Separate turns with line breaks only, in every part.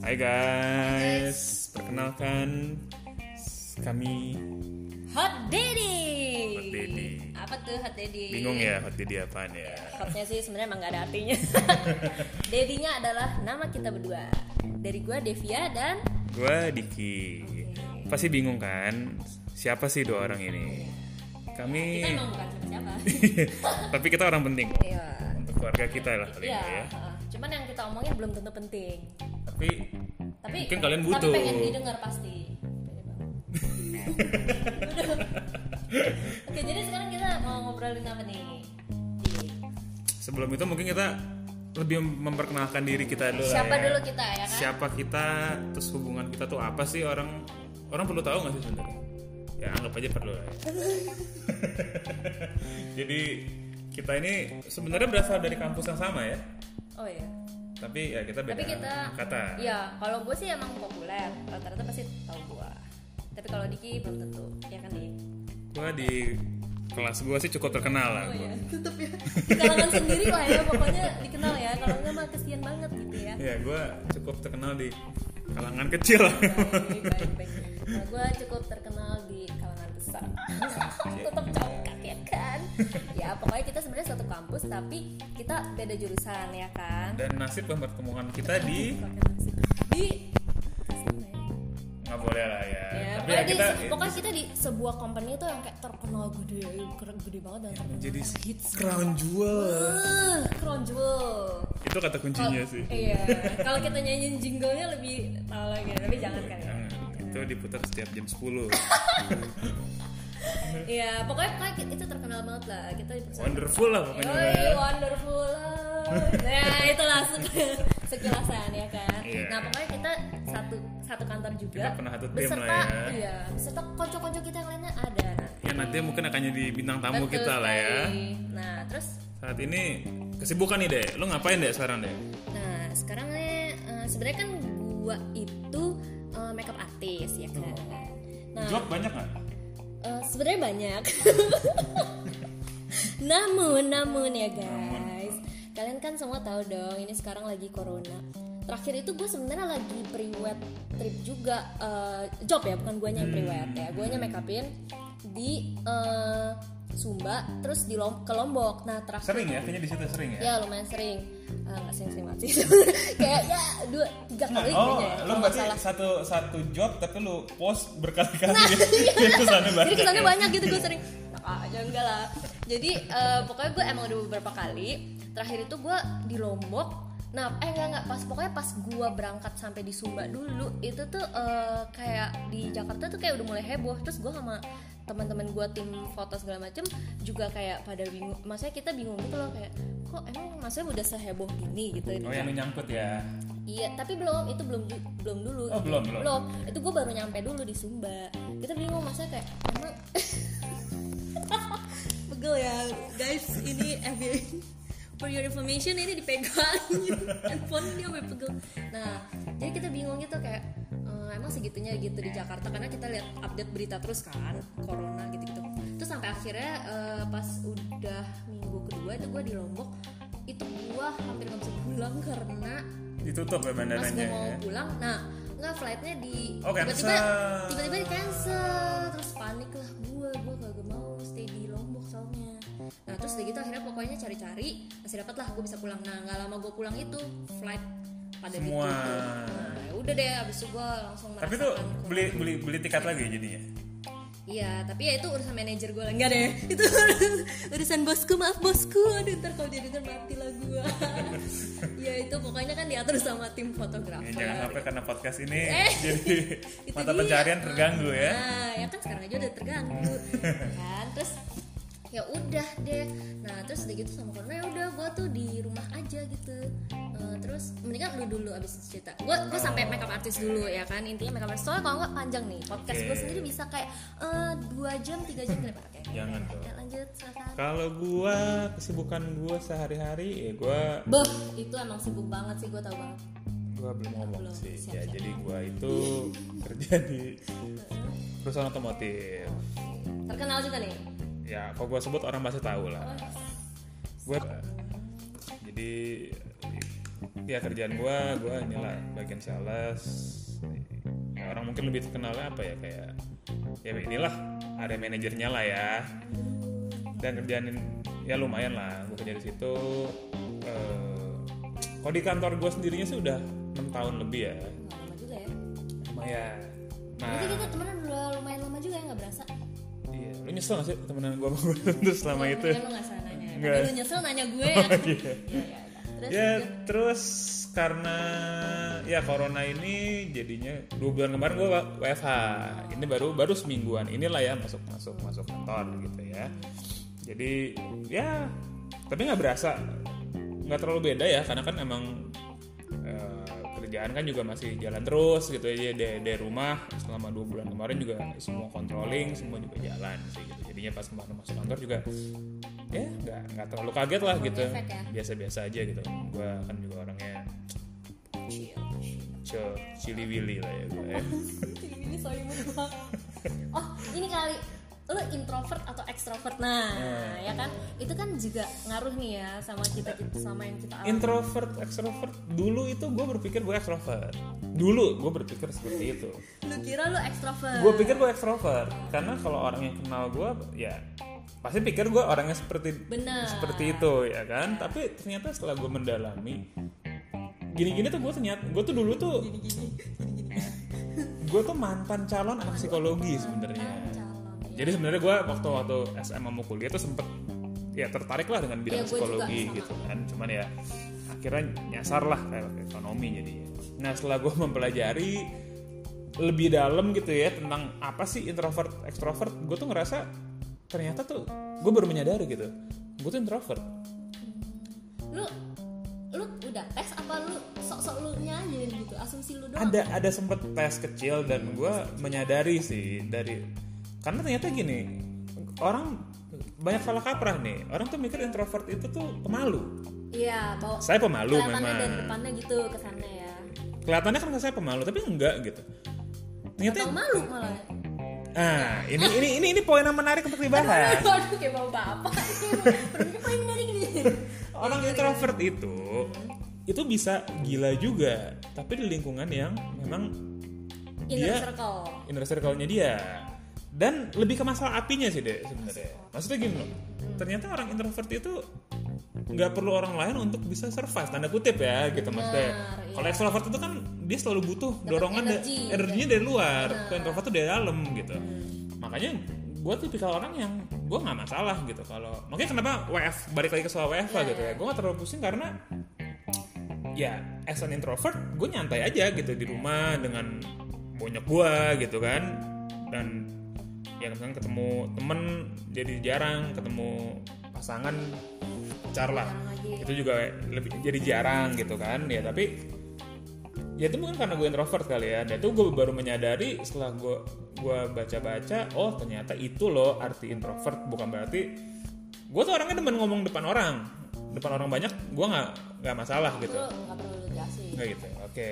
Hai guys, perkenalkan kami
Hot Daddy.
Oh, Hot Daddy.
Apa tuh Hot Daddy?
bingung
Iya.
ya hot daddy apaan ya.
Hotnya sih sebenarnya emang gak ada artinya. Daddy-nya adalah nama kita berdua. Dari gua Devia dan
Gua Diki. Pasti bingung kan? Siapa sih dua orang ini? Kami
kita
Iya.
emang bukan siapa-siapa.
tapi kita orang penting
Iya.
untuk keluarga kita lah kali
Iya.
ini ya.
heeh. Cuman yang kita omongin belum tentu penting.
Tapi
Tapi
mungkin kalian
Tapi
butuh.
pengen didengar pasti. Pede banget. Udah. Oke, jadi sekarang kita mau ngobrolin apa nih? Di-
Sebelum itu mungkin kita lebih memperkenalkan diri kita dulu. lah
Siapa
ya.
dulu kita ya kan?
Siapa kita? Terus hubungan kita tuh apa sih orang orang perlu tahu nggak sih sebenarnya? Ya anggap aja perlu lah. ya. Jadi kita ini sebenarnya berasal dari kampus yang sama ya,
Oh iya.
tapi ya kita beda
Tapi kita
kata.
Iya, kalau gue sih emang populer. Rata-rata pasti tahu gue. Tapi kalau Diki belum tentu, ya kan Dik?
Gua di kelas gua sih cukup terkenal lah.
Oh
gua.
ya, tetep ya. Di kalangan sendiri lah ya, pokoknya dikenal ya. Kalau enggak mah kesian banget gitu ya.
Ya gua cukup terkenal di kalangan kecil.
Baik, baik, baik. Nah, gue cukup terkenal di kalangan besar. Tetap congkak ya kan? Ya, pokoknya kita sebenarnya satu kampus, tapi kita beda jurusan ya kan?
Dan nasib pertemuan kita di
Di
nggak boleh lah ya.
Ya,
tapi ya
pokoknya,
kita
di, pokoknya kita di sebuah company itu yang kayak terkenal gede, keren gede
Iya.
banget dan terkenal
menjadi
hits.
crown jewel.
Eh, keren jewel.
Itu kata kuncinya sih.
Iya, kalau kita nyanyiin jinglenya lebih tahu lagi, tapi jangan kan ya.
Jangan. Nah, Itu diputar setiap jam 10
Iya, pokoknya, pokoknya itu terkenal banget lah. Kita di perusahaan.
Wonderful lah ya. pokoknya
Yoi, wonderful. Nah, itulah se- sekilasan ya kan.
Iya.
Nah, pokoknya kita satu satu kantor juga.
Kita pernah satu tim
beserta,
lah ya.
Iya, beserta konco-konco kita yang lainnya ada.
Ya nanti mungkin akan jadi bintang tamu
Betul
kita lah ya
sekali. Nah, terus
Saat ini kesibukan nih deh Lo ngapain deh sekarang deh?
Nah sekarang nih eh, sebenarnya kan gua itu eh, makeup artist ya kan. Nah
Job banyak gak?
eh, sebenarnya banyak. namun namun ya guys, kalian kan semua tahu dong ini sekarang lagi corona. Terakhir itu gue sebenarnya lagi pre-wed trip juga eh, job ya bukan guanya yang pre-wed ya, guanya makeupin di eh, Sumba terus di Lom- ke Lombok. Nah terakhir
Sering ya? Kayaknya di situ sering ya?
Ya lumayan sering Ah, nggak sering-sering banget sih Kayak ya dua, tiga kali
Oh,
kayaknya ya,
lo
kalau nggak
berarti
salah
satu satu job tapi lo post berkali-kali ya. Jadi kesannya
Nah, iya. Jadi
banyak
kesannya
ya.
banyak gitu gue sering Nah aja enggak lah Jadi eh, pokoknya gue emang udah beberapa kali Terakhir itu gue di Lombok Nah eh enggak enggak pas Pokoknya pas gue berangkat sampai di Sumba dulu Itu tuh eh, kayak di Jakarta tuh kayak udah mulai heboh Terus gue sama teman-teman gue tim foto segala macem juga kayak pada bingung maksudnya kita bingung gitu loh kayak kok emang maksudnya udah seheboh gini gitu di
Oh yang lo nyangkut ya
Iya, tapi belum itu belum ju- belum dulu.
Oh, belum, belum.
Itu gue baru nyampe dulu di Sumba. Kita bingung masa kayak emang pegel ya guys ini FYI. for your information ini dipegang handphone dia sampai pegel. Nah, jadi kita bingung gitu kayak eh, emang segitunya gitu di Jakarta karena kita lihat update berita terus kan corona gitu-gitu. Terus sampai akhirnya eh, pas udah minggu kedua itu gue di Lombok itu gue hampir nggak bisa pulang karena
Ditutup ya
pas
bandaranya
gue mau
ya
pulang nah nggak flightnya di
Oh,
tiba-tiba
cancel.
tiba-tiba di cancel terus panik lah gue gue kagak mau stay di lombok soalnya nah terus udah gitu akhirnya pokoknya cari-cari masih dapat lah gue bisa pulang nah nggak lama gue pulang itu flight pada
Semua.
ditutup. nah, ya udah deh abis itu gue langsung
Tapi tuh
merasakan kok-
beli beli beli tiket lagi jadinya
Iya, tapi ya itu urusan manajer gue lah. Enggak deh, itu urusan bosku. Maaf bosku. Aduh, ntar kalau dia denger mati lah gue. ya itu pokoknya kan diatur sama tim
Ya,
fotografer.
jangan sampai karena podcast ini
Eh,
jadi
itu
mata
dia.
pencarian terganggu ya.
Nah, ya kan sekarang aja udah terganggu. kan terus ya udah deh. Nah, terus udah gitu sama Corona ya udah gua tuh di rumah aja gitu. Eh, terus mendingan lu dulu abis itu cerita. Gua gua sampai makeup artist dulu ya kan. Intinya makeup artist. Soalnya kalau nggak panjang nih podcast
Oke.
gua sendiri bisa kayak eh, dua jam, tiga jam kenapa kayak.
Jangan dong.
Ya, lanjut silakan.
Kalau gua kesibukan gua sehari-hari ya gua
Beh, itu emang sibuk banget sih gua tau banget.
gua belum ngomong
Belum,
sih.
siap,
ya
siap.
jadi gua itu kerja di perusahaan otomotif.
Terkenal juga nih.
Ya kalau gua sebut orang pasti tahu lah. Gua jadi ya kerjaan gua gua inilah bagian sales Ya, orang mungkin lebih terkenalnya apa ya kayak ya inilah ada manajernya lah ya dan kerjaan ya lumayan lah gue kerja di situ eh, kalau di kantor gue sendirinya sih udah 6 tahun lebih ya
Nggak lama juga ya
lumayan
berarti
nah
kita temenan udah lumayan lama juga ya nggak berasa
iya lu nyesel gak sih temenan gue sama gue selama itu
Emang nggak salah nanya
Nggak. Oh,
Tadi lu nyesel nanya gue ya kan? Iya, iya, iya. Terus
ya terus karena ya corona ini jadinya dua bulan kemarin gue WFH ini baru baru semingguan inilah ya masuk masuk masuk kantor gitu ya jadi ya tapi nggak berasa nggak terlalu beda ya karena kan emang eh, kerjaan kan juga masih jalan terus gitu ya dari, dari rumah selama dua bulan kemarin juga semua controlling semua juga jalan sih gitu jadinya pas kemarin masuk kantor juga ya nggak nggak terlalu kaget lah gitu
Efek ya.
biasa-biasa aja gitu gue kan juga orangnya
chill
chill chili willy lah ya gue ya.
Oh. Jadi ini sorry mood gua. Oh ini kali lu introvert atau ekstrovert nah ya kan itu kan juga ngaruh nih ya sama kita kita sama yang kita alami
introvert extrovert dulu itu gue berpikir gue extrovert dulu gue berpikir seperti itu
lu kira lu ekstrovert
gue pikir gue extrovert karena kalau orang yang kenal gue ya pasti pikir gue orangnya seperti
Bener.
seperti itu ya kan tapi ternyata setelah gue mendalami gini-gini tuh gue ternyata gue tuh dulu tuh gue tuh mantan calon anak psikologi sebenarnya
calon
jadi sebenarnya gue waktu waktu SMA mau kuliah tuh sempet ya tertarik lah dengan bidang
Iya, gua juga
psikologi
sama.
gitu kan cuman ya akhirnya nyasar lah ke ke ekonomi jadi nah setelah gue mempelajari lebih dalam gitu ya tentang apa sih introvert extrovert gue tuh ngerasa ternyata tuh gue baru menyadari gitu gue tuh introvert
lu lu udah tes apa lu sok-sok lu nyanyiin gitu asumsi lu doang
ada ada sempet tes kecil dan gue menyadari sih dari karena ternyata gini orang banyak salah kaprah nih orang tuh mikir introvert itu tuh pemalu
iya bawa
saya pemalu
kelihatannya
memang
dan depannya gitu kesannya ya
kelihatannya kan saya pemalu tapi enggak gitu ternyata
Atau malu malah
ah ini ini ini ini poin yang menarik untuk dibahas
aduh kayak bawa bapak Perutnya paling menarik nih
orang introvert itu itu bisa gila juga tapi di lingkungan yang memang
inner
dia
circle
inner circle-nya dia dan lebih ke masalah apinya sih deh sebenarnya maksudnya gini loh ternyata orang introvert itu nggak perlu orang lain untuk bisa survive tanda kutip ya gitu maksudnya
Benar, iya.
kalau extrovert itu kan dia selalu butuh dorongan da-
energi, gitu.
energinya dari luar kalau introvert itu dari dalam gitu
Hmm.
makanya gue tipikal orang yang gue nggak masalah gitu kalau makanya kenapa WF balik lagi ke soal WF
Iya,
lah gitu ya gue nggak terlalu pusing karena ya as an introvert gue nyantai aja gitu di rumah dengan banyak gue gitu kan dan ya misalnya ketemu temen jadi jarang ketemu pasangan pacar lah itu juga lebih jadi jarang gitu kan ya tapi ya itu mungkin karena gue introvert kali ya dan itu gue baru menyadari setelah gue gue baca-baca oh ternyata itu loh arti introvert bukan berarti gue tuh orangnya demen ngomong depan orang depan orang banyak gue nggak nggak masalah gitu
lu nggak perlu lu jelasin
nggak gitu oke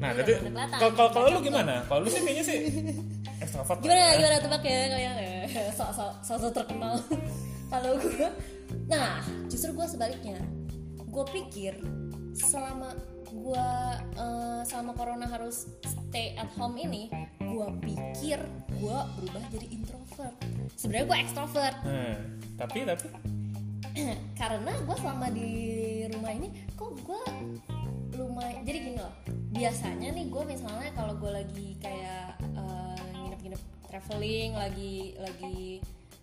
nah
Iya,
berarti
udah kelihatan.
kalau kalau- kalau lu gimana kalau lu sih kayaknya sih extrovert lah
gimana
ya.
gimana tebak ya kalian Eh, sok sok sok sok terkenal kalau gue nah justru gue sebaliknya gue pikir selama gue eh, selama corona harus stay at home ini gue pikir gue berubah jadi introvert sebenarnya gue extrovert
Hmm, tapi tapi
karena gue selama di rumah ini kok gue lumayan jadi gini loh biasanya nih gue misalnya kalau gue lagi kayak eh, nginep-nginep traveling lagi lagi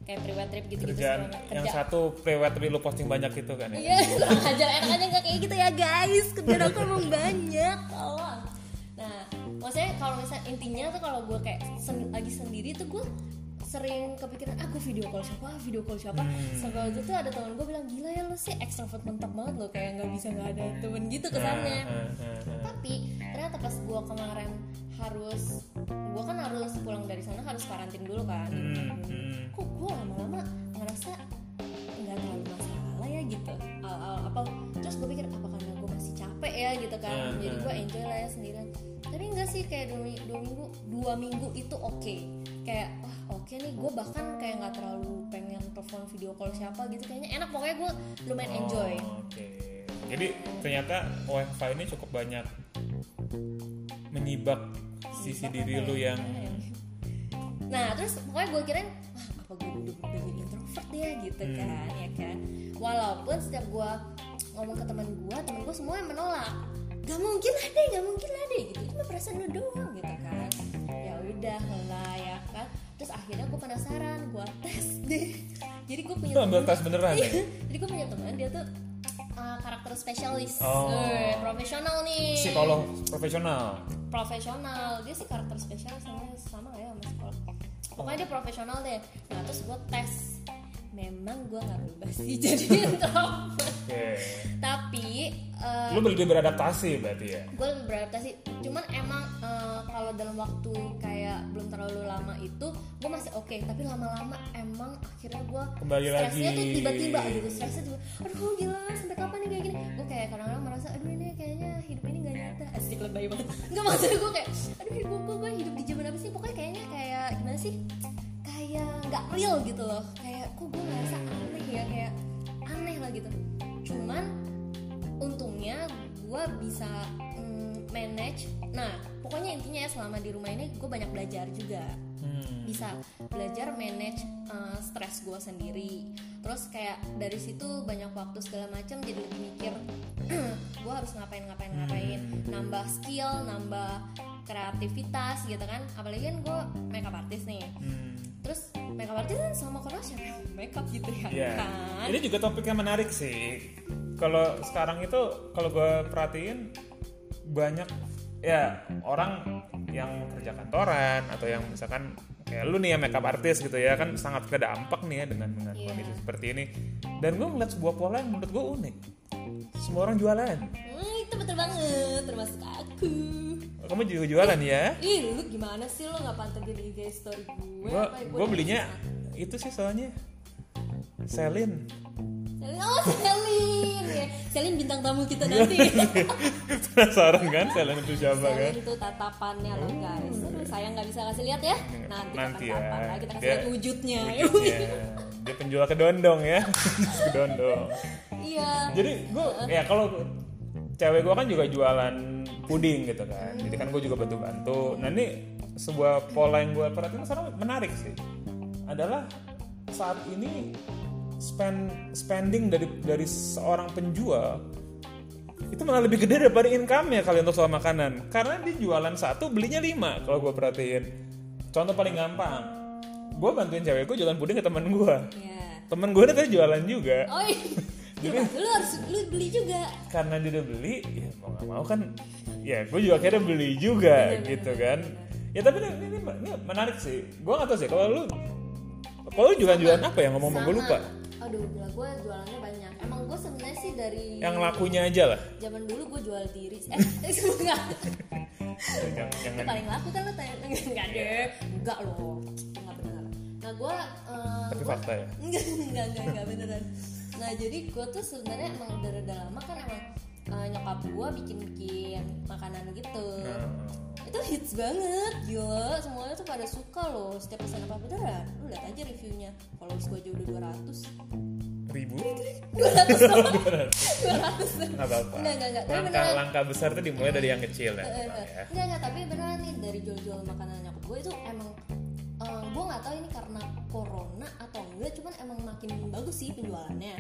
kayak private trip gitu-gitu segala
kerjaan
macam.
yang
Kerja.
satu prewet tapi lu posting banyak itu kan ya
Iya, kurang ajar enaknya nggak kayak gitu ya guys. Kerjaan aku emang banyak, tolong. Nah, maksudnya kalau misalnya intinya tuh kalau gue kayak sen- lagi sendiri tuh gue sering kepikiran aku video call siapa ah, video call siapa sampai waktu itu ada teman gue bilang gila ya lo sih extrovert mentok banget lo kayak nggak bisa nggak ada temen gitu kesannya
Hmm, hmm, hmm.
tapi ternyata pas gue kemarin harus gue kan harus pulang dari sana harus karantin dulu kan
Hmm, hmm.
kok gue lama-lama ngerasa nggak terlalu masalah ya gitu Al-al apa terus gue pikir apa karena gue masih capek ya gitu kan
Hmm,
jadi
hmm.
gue enjoy lah ya sendirian tapi enggak sih kayak dua, mi- dua minggu dua minggu itu oke kayak wah oke nih gue bahkan kayak nggak terlalu pengen telepon video call siapa gitu kayaknya enak pokoknya gue lumayan enjoy
Oh, oke Jadi ternyata WFH ini cukup banyak menyibak sisi
Apa
diri
ya?
lu yang
Nah terus pokoknya gue kirain Wah apa gue udah pengen introvert ya gitu
Hmm.
kan ya kan Walaupun setiap gue ngomong ke teman gue Temen gue semua yang menolak Gak mungkin ada, gak mungkin ada gitu Cuma perasaan lu doang gitu kan Ya udah lah ya kan Terus akhirnya gue penasaran Gue tes deh Jadi gue punya
Lu ambil
temen-
tes beneran ya?
Iya. Jadi gue punya teman dia tuh uh, karakter spesialis
Oh.
Eh, profesional nih
psikolog profesional.
profesional dia sih karakter spesial sama sama nggak ya sama sekolah pokoknya dia profesional deh nah terus gue tes memang gue nggak berubah sih jadi introvert
Oke.
Iya. tapi
Lu lebih beradaptasi berarti ya.
gue lebih beradaptasi cuman emang eh, kalau dalam waktu kayak belum terlalu lama itu gue masih oke tapi lama-lama emang akhirnya gue
Kembali
stresnya
lagi.
tuh tiba-tiba gitu stresnya tiba aduh gila sampai kapan nih kayak gini gue kayak kadang-kadang merasa aduh ini kayaknya hidup ini gak nyata asik lebay banget nggak maksudnya gue kayak aduh hidup gue gue hidup di zaman apa sih pokoknya kayaknya kayak gimana sih kayak nggak real gitu loh kayak kok gue ngerasa aneh ya kayak aneh lah gitu cuman untungnya gue bisa mm, manage nah pokoknya intinya ya selama di rumah ini gue banyak belajar juga
Hmm.
bisa belajar manage uh, stres gue sendiri terus kayak dari situ banyak waktu segala macam jadi lebih mikir gue harus ngapain ngapain ngapain nambah skill nambah kreativitas gitu kan apalagi kan gue makeup artist nih
Hmm.
terus makeup artist kan sama komersial makeup gitu ya
Iya.
kan
Ini juga topik yang menarik sih. Kalau sekarang itu kalau gue perhatiin banyak ya orang yang kerja kantoran atau yang misalkan kayak lu nih ya makeup artist gitu ya kan sangat kedampak nih ya dengan dengan
Iya.
kondisi seperti ini. Dan gue ngeliat sebuah pola yang menurut gue unik. Semua orang jualan.
Hmm, itu betul banget termasuk aku
Kamu juga jualan ya?
Ih, lu gimana sih lu nggak pantengin IG story gue?
Gue
apa
gue belinya itu sih soalnya Selin.
Selin, oh Selin, ya. Selin bintang tamu kita nanti.
Penasaran kan Selin itu siapa kan?
Selin tuh tatapannya loh guys. Aduh, sayang nggak bisa kasih lihat ya. Nanti,
Oh. Nanti ya.
kapan-kapan lah kita kasih
Dia-
lihat wujudnya.
Iya, dia penjual kedondong ya kedondong
iya.
jadi gue ya kalau cewek gue kan juga jualan puding gitu kan jadi kan gue juga bantu bantu nah ini sebuah pola yang gue perhatiin sekarang menarik sih adalah saat ini spend spending dari dari seorang penjual itu malah lebih gede daripada income nya kali untuk soal makanan karena dia jualan satu belinya lima kalau gue perhatiin contoh paling gampang gue bantuin cewek gue jualan puding ke temen gue
Iya.
temen gue udah tadi jualan juga
Oh, iya. Coba, lu harus lu beli juga.
karena dia udah beli ya mau nggak mau kan ya gue juga akhirnya beli
Iya,
juga gitu kan ya tapi ini, ini, ini menarik sih gue nggak tahu sih kalau lu kalau lu jualan jualan apa ya ngomong gue lupa
Aduh, gila gue jualannya banyak. Emang gue sebenarnya sih dari
yang lakunya aja lah
zaman dulu gue jual diri. Eh, enggak.
yang, yang
Itu paling laku kan lo tanya enggak deh enggak loh enggak beneran nah gue
tapi fakta ya
enggak enggak enggak enggak beneran nah jadi gue tuh sebenarnya emang udah udah lama kan emang eh, nyokap gue bikin bikin makanan gitu
Nah,
itu hits banget gila semuanya tuh pada suka loh setiap pesan apa beneran lu lihat aja reviewnya followers gue aja udah 200
ribu
200 doang. 200
nggak apa-apa
Nggak, nggak, nggak. Tapi
langkah
beneran.
langkah besar tuh dimulai dari yang kecil ya, memang ya.
Enggak, enggak, tapi beneran nih dari jual-jual makanan nyokap gue itu emang eh, gue nggak tahu ini karena corona atau enggak cuman emang makin bagus sih penjualannya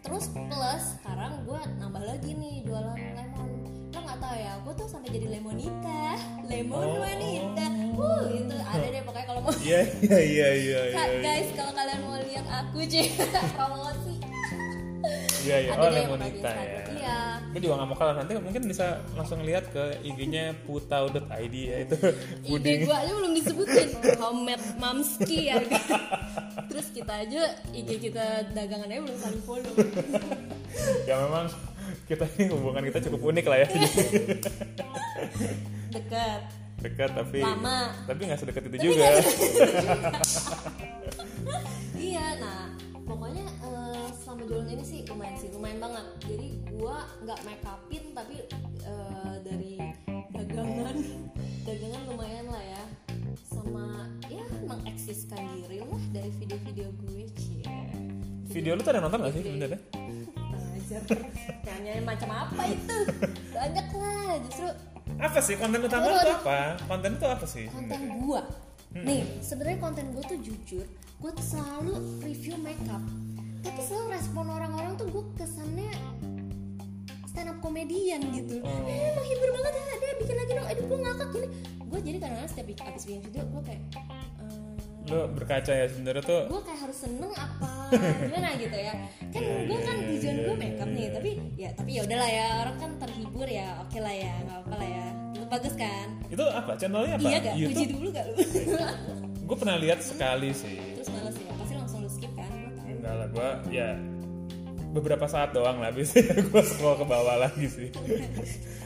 terus plus sekarang gue nambah lagi nih jualan lemon lo nggak tahu ya gue tuh sampai jadi lemonita lemon
Oh.
wanita Wuh, itu ada deh pokoknya kalau mau
iya iya iya iya
Kak,
iya
guys kalau kalian mau lihat aku sih promosi
iya iya
ada
oh
deh yang pokoknya di
lemonita ya
Instagram. iya
gue juga nggak mau kalah nanti mungkin bisa langsung lihat ke ig-nya putau.id ya itu puding
IG gue Iya, aja belum disebutin Homemade Mamski ya Terus kita aja IG kita dagangannya belum saling follow
ya memang kita ini hubungan kita cukup unik lah ya
Iya. Dekat
dekat tapi
Lama.
tapi nggak sedekat itu
Tapi
juga
Iya nah pokoknya eh, selama jualan ini sih lumayan sih lumayan banget Jadi gue nggak make upin tapi eh, dari dagangan Dagangan lumayan lah ya Sama ya mengeksiskan diri lah dari video-video gue cie
video lu tuh ada nonton gak sih sebenarnya
Tenang aja anjir nyanyian macam apa itu banyak lah justru
Apa sih konten utama
Aduh,
itu
aduh.
apa? Konten itu apa sih?
konten gua nih sebenarnya konten gua tuh jujur gua tuh selalu review makeup tapi selalu respon orang-orang tuh gua kesannya stand up komedian gitu
Oh.
eh mau hibur banget ya ada bikin lagi dong aduh gua ngakak gini gua jadi kadang-kadang setiap abis bikin video gua kayak ehm,
Lo berkaca ya sebenarnya tuh
gue kayak harus seneng apa gimana gitu ya kan
Iya,
gue kan tujuan gue makeup nih tapi ya tapi ya udahlah ya orang kan terhibur ya oke lah ya nggak apa lah ya itu bagus kan
itu apa? Channelnya apa?
iya gak puji
YouTube? iya,
dulu gak lu
Gue pernah lihat sekali sih.
terus males ya pasti langsung lu skip kan Lu tahu.
Enggak lah, gue ya beberapa saat doang lah biasanya gue scroll ke bawah lagi sih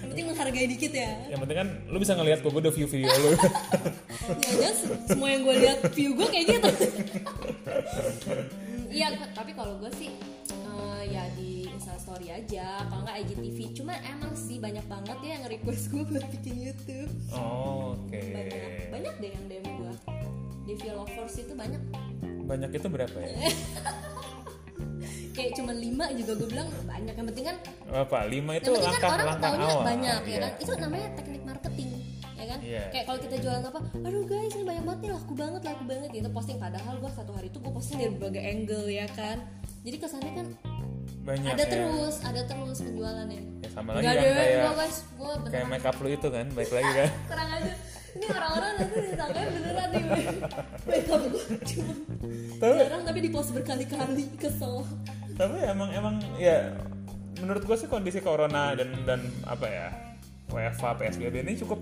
yang penting menghargai dikit ya
yang penting kan lu bisa ngelihat kok gue udah view video lu
jangan Ya semua yang gue lihat view gue kayak gitu Hmm, iya tapi kalau gue sih eh, ya di instastory aja kalau nggak IGTV cuman emang sih banyak banget ya yang request gue buat bikin YouTube
oh, oke
banyak banyak deh yang DM gue Devi lovers itu banyak
banyak itu berapa ya
kayak cuman lima juga gue bilang banyak yang penting kan
apa lima
yang
itu
penting
langkah
kan orang
langkah
taunya
awal
banyak ya
Iya.
kan itu namanya teknik marketing ya kan
Iya.
kayak kalau kita jualan apa aduh guys ini banyak banget nih laku banget laku banget gitu posting padahal gue satu hari itu gue posting dari berbagai angle ya kan jadi kesannya kan
banyak
ada
ya.
terus ada terus penjualannya
Ya, sama lagi
Enggak
kan
deh,
kayak
gue guys, gue
kayak
beneran
make up lu itu kan baik lagi kan
kurang aja ini orang-orang nanti disangkanya beneran nih makeup gue cuma
tapi
jarang tapi di post berkali-kali kesel
tapi emang emang ya menurut gue sih kondisi corona dan dan apa ya WFA PSBB ini cukup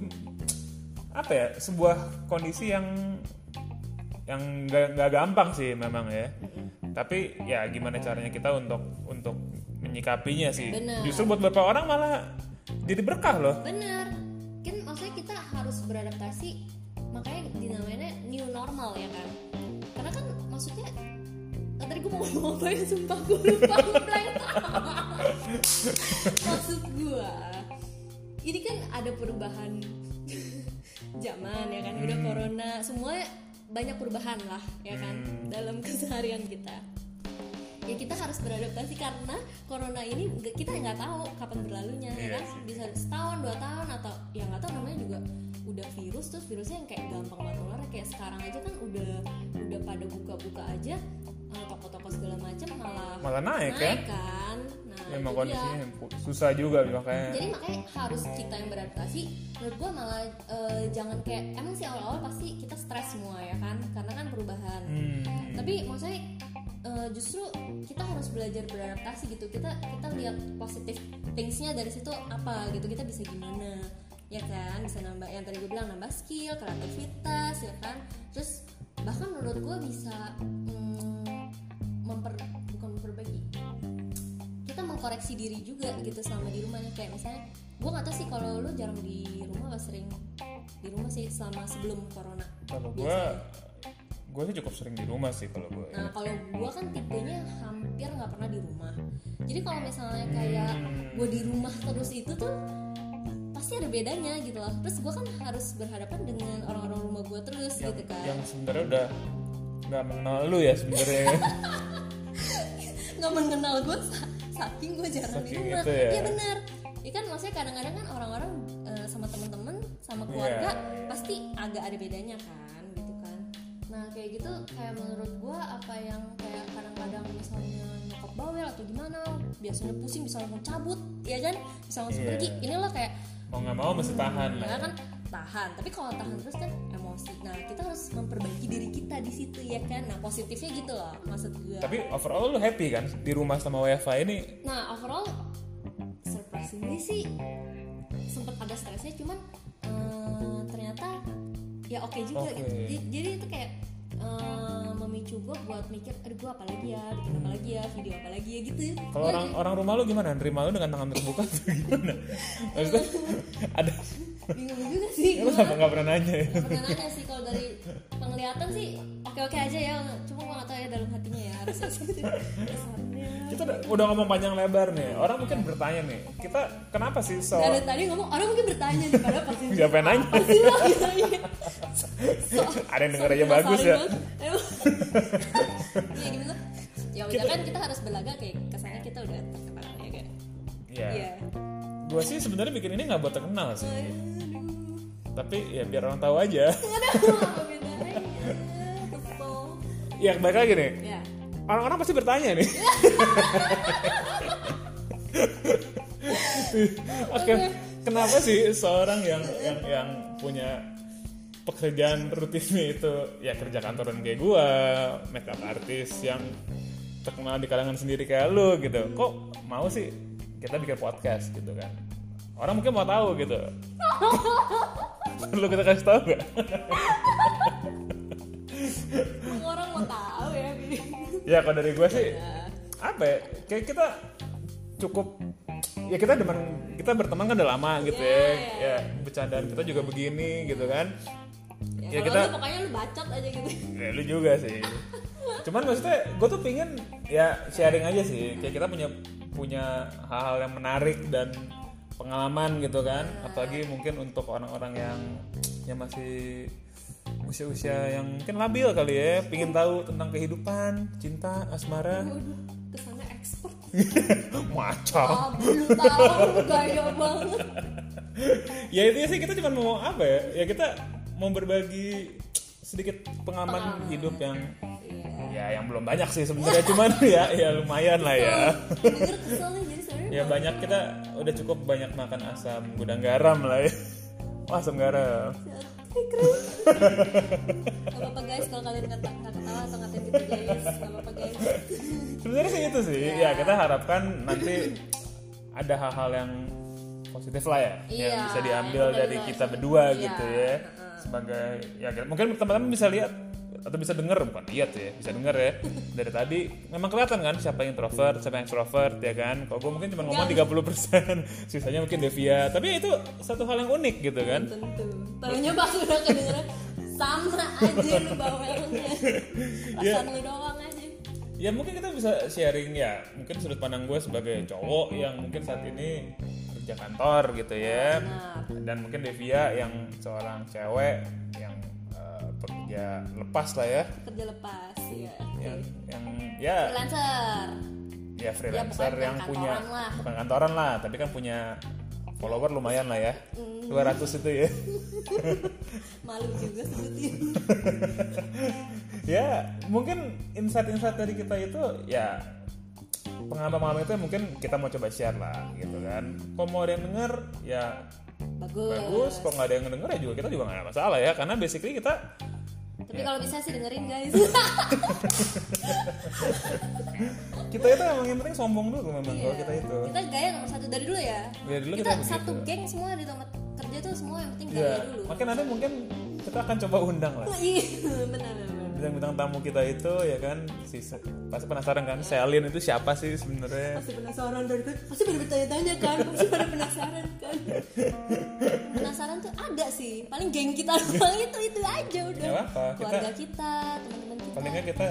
apa ya sebuah kondisi yang yang nggak nggak gampang sih memang ya tapi ya gimana caranya kita untuk untuk menyikapinya sih
Benar.
justru buat beberapa orang malah jadi berkah loh
bener kan maksudnya kita harus beradaptasi makanya dinamanya new normal ya kan karena kan maksudnya eh, tadi gue mau ngomong apa ya sumpah gue lupa blank maksud gue ini kan ada perubahan zaman ya kan udah corona semua banyak perubahan lah ya kan dalam keseharian kita ya kita harus beradaptasi karena corona ini nggak- kita nggak tahu kapan berlalunya ya
Iya
kan
sih.
bisa setahun dua tahun atau yang nggak tahu namanya juga udah virus terus virusnya yang kayak gampang banget nular kayak sekarang aja kan udah udah pada buka-buka aja eh, toko-toko segala macam malah
malah naik kan
naik kan nah
memang
itu dia.
Iya, kondisinya susah juga makanya
Jadi makanya harus kita yang beradaptasi. Menurut gue malah eh, jangan kayak emang sih awal-awal pasti kita stres semua ya kan, karena kan perubahan.
Hmm.
Tapi maksudnya eh, justru kita harus belajar beradaptasi gitu. Kita kita lihat positif things-nya dari situ apa gitu. Kita bisa gimana ya kan? Bisa nambah yang tadi gue bilang nambah skill, kreativitas ya kan. Terus bahkan menurut gue bisa mm, memper bukan memperbaiki kita mengkoreksi diri juga gitu selama di rumahnya kayak misalnya gue nggak tahu sih kalau lu jarang di rumah apa sering di rumah sih selama sebelum corona
kalau gue gue sih cukup sering di rumah sih kalau gue
nah kalau gue kan tipenya hampir nggak pernah di rumah jadi kalau misalnya kayak gue di rumah terus itu tuh pasti ada bedanya gitu loh terus gue kan harus berhadapan dengan orang-orang rumah gue terus
yang,
gitu kan
yang sebenarnya udah nggak mengenal lu ya sebenarnya
nggak mengenal gue sa- saking gue jarang
Saking
di rumah
itu ya.
iya benar ya kan maksudnya kadang-kadang kan orang-orang eh, sama temen-temen sama keluarga
Iya.
pasti agak ada bedanya kan gitu kan nah kayak gitu kayak menurut gue apa yang kayak kadang-kadang misalnya nyokap bawel atau gimana biasanya pusing bisa langsung cabut ya kan bisa langsung
Iya.
pergi ini loh kayak
mau nggak mau mesti tahan lah
ya kan tahan tapi kalau tahan terus kan emosi nah kita harus memperbaiki diri kita di situ ya kan nah positifnya gitu loh maksud gue
tapi overall lu happy kan di rumah sama wifi ini
Nah overall surprisingly sih sempet ada stresnya cuman eh, ternyata ya oke juga
Oke.
gitu. Jadi, jadi itu kayak eh, memicu gue buat mikir, aduh gue apa lagi ya, bikin apa lagi ya, video apa lagi ya gitu.
kalau
Gua-
orang orang rumah lu gimana nerima lu dengan tangan terbuka atau gimana maksudnya
Iya.
ada
bingung juga sih.
lu
Gue
kenapa nggak pernah nanya ya
pernah nanya sih kalau dari penglihatan sih oke oke aja ya, cuma gue gak tau ya dalam hatinya ya harusnya sih. Kesannya.
kita udah- udah ngomong panjang lebar nih orang mungkin bertanya nih kita kenapa sih so
Dan tadi ngomong orang mungkin bertanya nih padahal pasti
siapa yang nanya
pasti lah gitu, iya.
ada yang denger aja bagus ya
Iya gitu. Ya udah kan kita harus berlagak kayak kesannya kita udah terkenal ya kan. Iya.
gue sih sebenarnya bikin ini nggak buat terkenal sih tapi ya biar orang tahu aja
Nggak ada apa bedanya. Kesel.
ya balik lagi nih
Ya.
orang-orang pasti bertanya nih oke kenapa sih seorang yang yang yang punya pekerjaan rutinnya itu ya kerja kantoran kayak gua makeup artis yang terkenal di kalangan sendiri kayak lu gitu kok mau sih kita bikin podcast gitu kan orang mungkin mau tahu gitu perlu kita kasih tahu gak?
Emang orang mau tahu ya. Bi?
ya kalau dari gue sih apa ya kayak kita cukup ya kita demen kita berteman kan udah lama gitu ya ya bercandaan kita juga begini gitu kan
Ya,
Ya,
kalau
kita-
lu pokoknya lu bacot aja gitu.
ya, lu juga sih cuman maksudnya gue tuh pingin ya sharing aja sih kayak kita punya punya hal-hal yang menarik dan pengalaman gitu kan apalagi mungkin untuk orang-orang yang yang masih usia-usia yang mungkin labil kali ya pingin tahu tentang kehidupan cinta asmara
Waduh, kesana expert.
macam
Ah, belum tahu gaya banget.
ya itu sih kita cuma mau apa ya ya kita mau berbagi sedikit pengalaman hidup yang ya yang belum banyak sih sebenarnya cuman ya ya lumayan lah ya
Denger kesel nih jadi sebenarnya
ya banyak kita udah cukup banyak makan asam gudang garam lah ya Wah, asam garam
Ih, keren. Gak apa-apa guys kalau kalian kata nggak ketawa atau ngatain gitu guys. Gak apa-apa guys.
sebenarnya sih itu
Iya.
sih ya kita harapkan nanti ada hal-hal yang positif lah ya yang
Iya,
bisa diambil
yang
dari
bener.
kita berdua
Iya,
gitu ya sebagai ya kira- mungkin teman-teman bisa lihat atau bisa denger bukan lihat ya bisa denger ya dari tadi memang kelihatan kan siapa yang introvert siapa yang extrovert ya kan kalau gue mungkin cuma ngomong 30% sisanya mungkin Devia tapi itu satu hal yang unik gitu kan
Tentu. Tahunya pas udah kedengeran kan, sama aja lu bawelnya. Perasaan lu doang aja.
ya mungkin kita bisa sharing ya mungkin sudut pandang gue sebagai cowok yang mungkin saat ini kerja kantor gitu ya
Nah,
dan mungkin Devia yang seorang cewek yang eh, pekerja lepas lah ya
Kerja lepas ya.
yang yang ya
Freelancer.
ya freelancer
bukan
yang punya
kantoran lah.
bukan kantoran lah tapi kan punya follower lumayan lah ya
Mm.
200 itu ya
Malu juga sebutin.
ya mungkin insight-insight dari kita itu ya pengalaman-pengalaman itu yang mungkin kita mau coba share lah gitu kan kalau mau ada yang denger ya
Bagus.
bagus kalau nggak ada yang denger ya juga kita juga nggak ada masalah ya karena basically kita
Tapi
Ya.
kalau bisa sih dengerin guys.
kita itu emang yang penting sombong dulu memang
Iya,
kalau kita itu
kita gaya nomor satu dari dulu ya.
ya dulu kita,
Kita
begitu.
satu geng semua di tempat kerja tuh semua yang penting
ya
gaya dulu.
makin nanti mungkin kita akan coba undang lah
Iya, benar benar.
bintang-bintang tamu kita itu ya kan si pasti penasaran kan Selin itu siapa sih sebenarnya
pasti penasaran dari tadi pasti pada bertanya-tanya kan pasti pada penasaran kan penasaran tuh ada sih paling geng kita doang itu itu aja udah
Nggak apa-apa, kita-
keluarga kita teman-teman kita
palingnya kita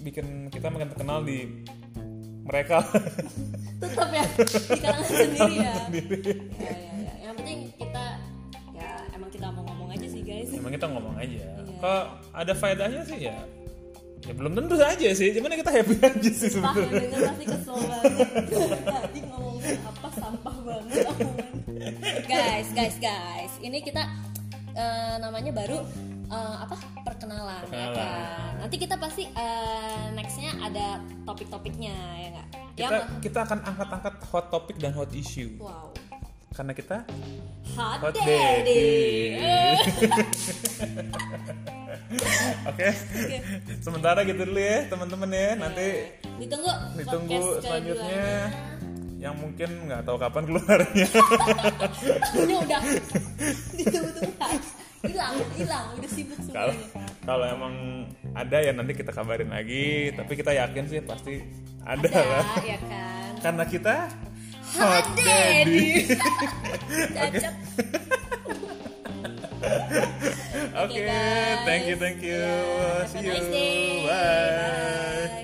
bikin kita makin terkenal di mereka
tetap ya di kalangan sendiri ya. ya ya ya yang penting kita ya emang kita mau ngomong aja sih guys
emang kita ngomong aja
Iya.
kok ada faedahnya sih ya ya belum tentu aja sih cuman ya kita happy aja sih
Pah,
sebenarnya
yang denger pasti kesel banget Tadi ngomongin apa sampah banget omongan. Guys, guys, guys Ini kita eh, namanya baru eh, apa perkenalan, ya
Perkenalan.
kan? Nanti kita pasti eh, nextnya ada topik-topiknya ya nggak? Ya
kita
nggak?
kita akan angkat-angkat hot topic dan hot issue
wow,
karena kita
hot,
hot
daddy.
daddy
Eh,
oke sementara gitu dulu ya teman-teman ya nanti
Eh, ditunggu,
ditunggu
podcast
selanjutnya
keduanya.
yang mungkin nggak tahu kapan keluarnya
Ini udah ditunggu-tunggu hilang, hilang, udah sibuk
kalau
semuanya.
kalau emang ada ya nanti kita kabarin lagi tapi kita yakin sih pasti ada,
Iya.
lah
Ada, ya kan?
karena kita
Hot Daddy. Cacat.
oke
guys.
thank you thank you
Yeah, Iya. have a
see you
nice day.
bye.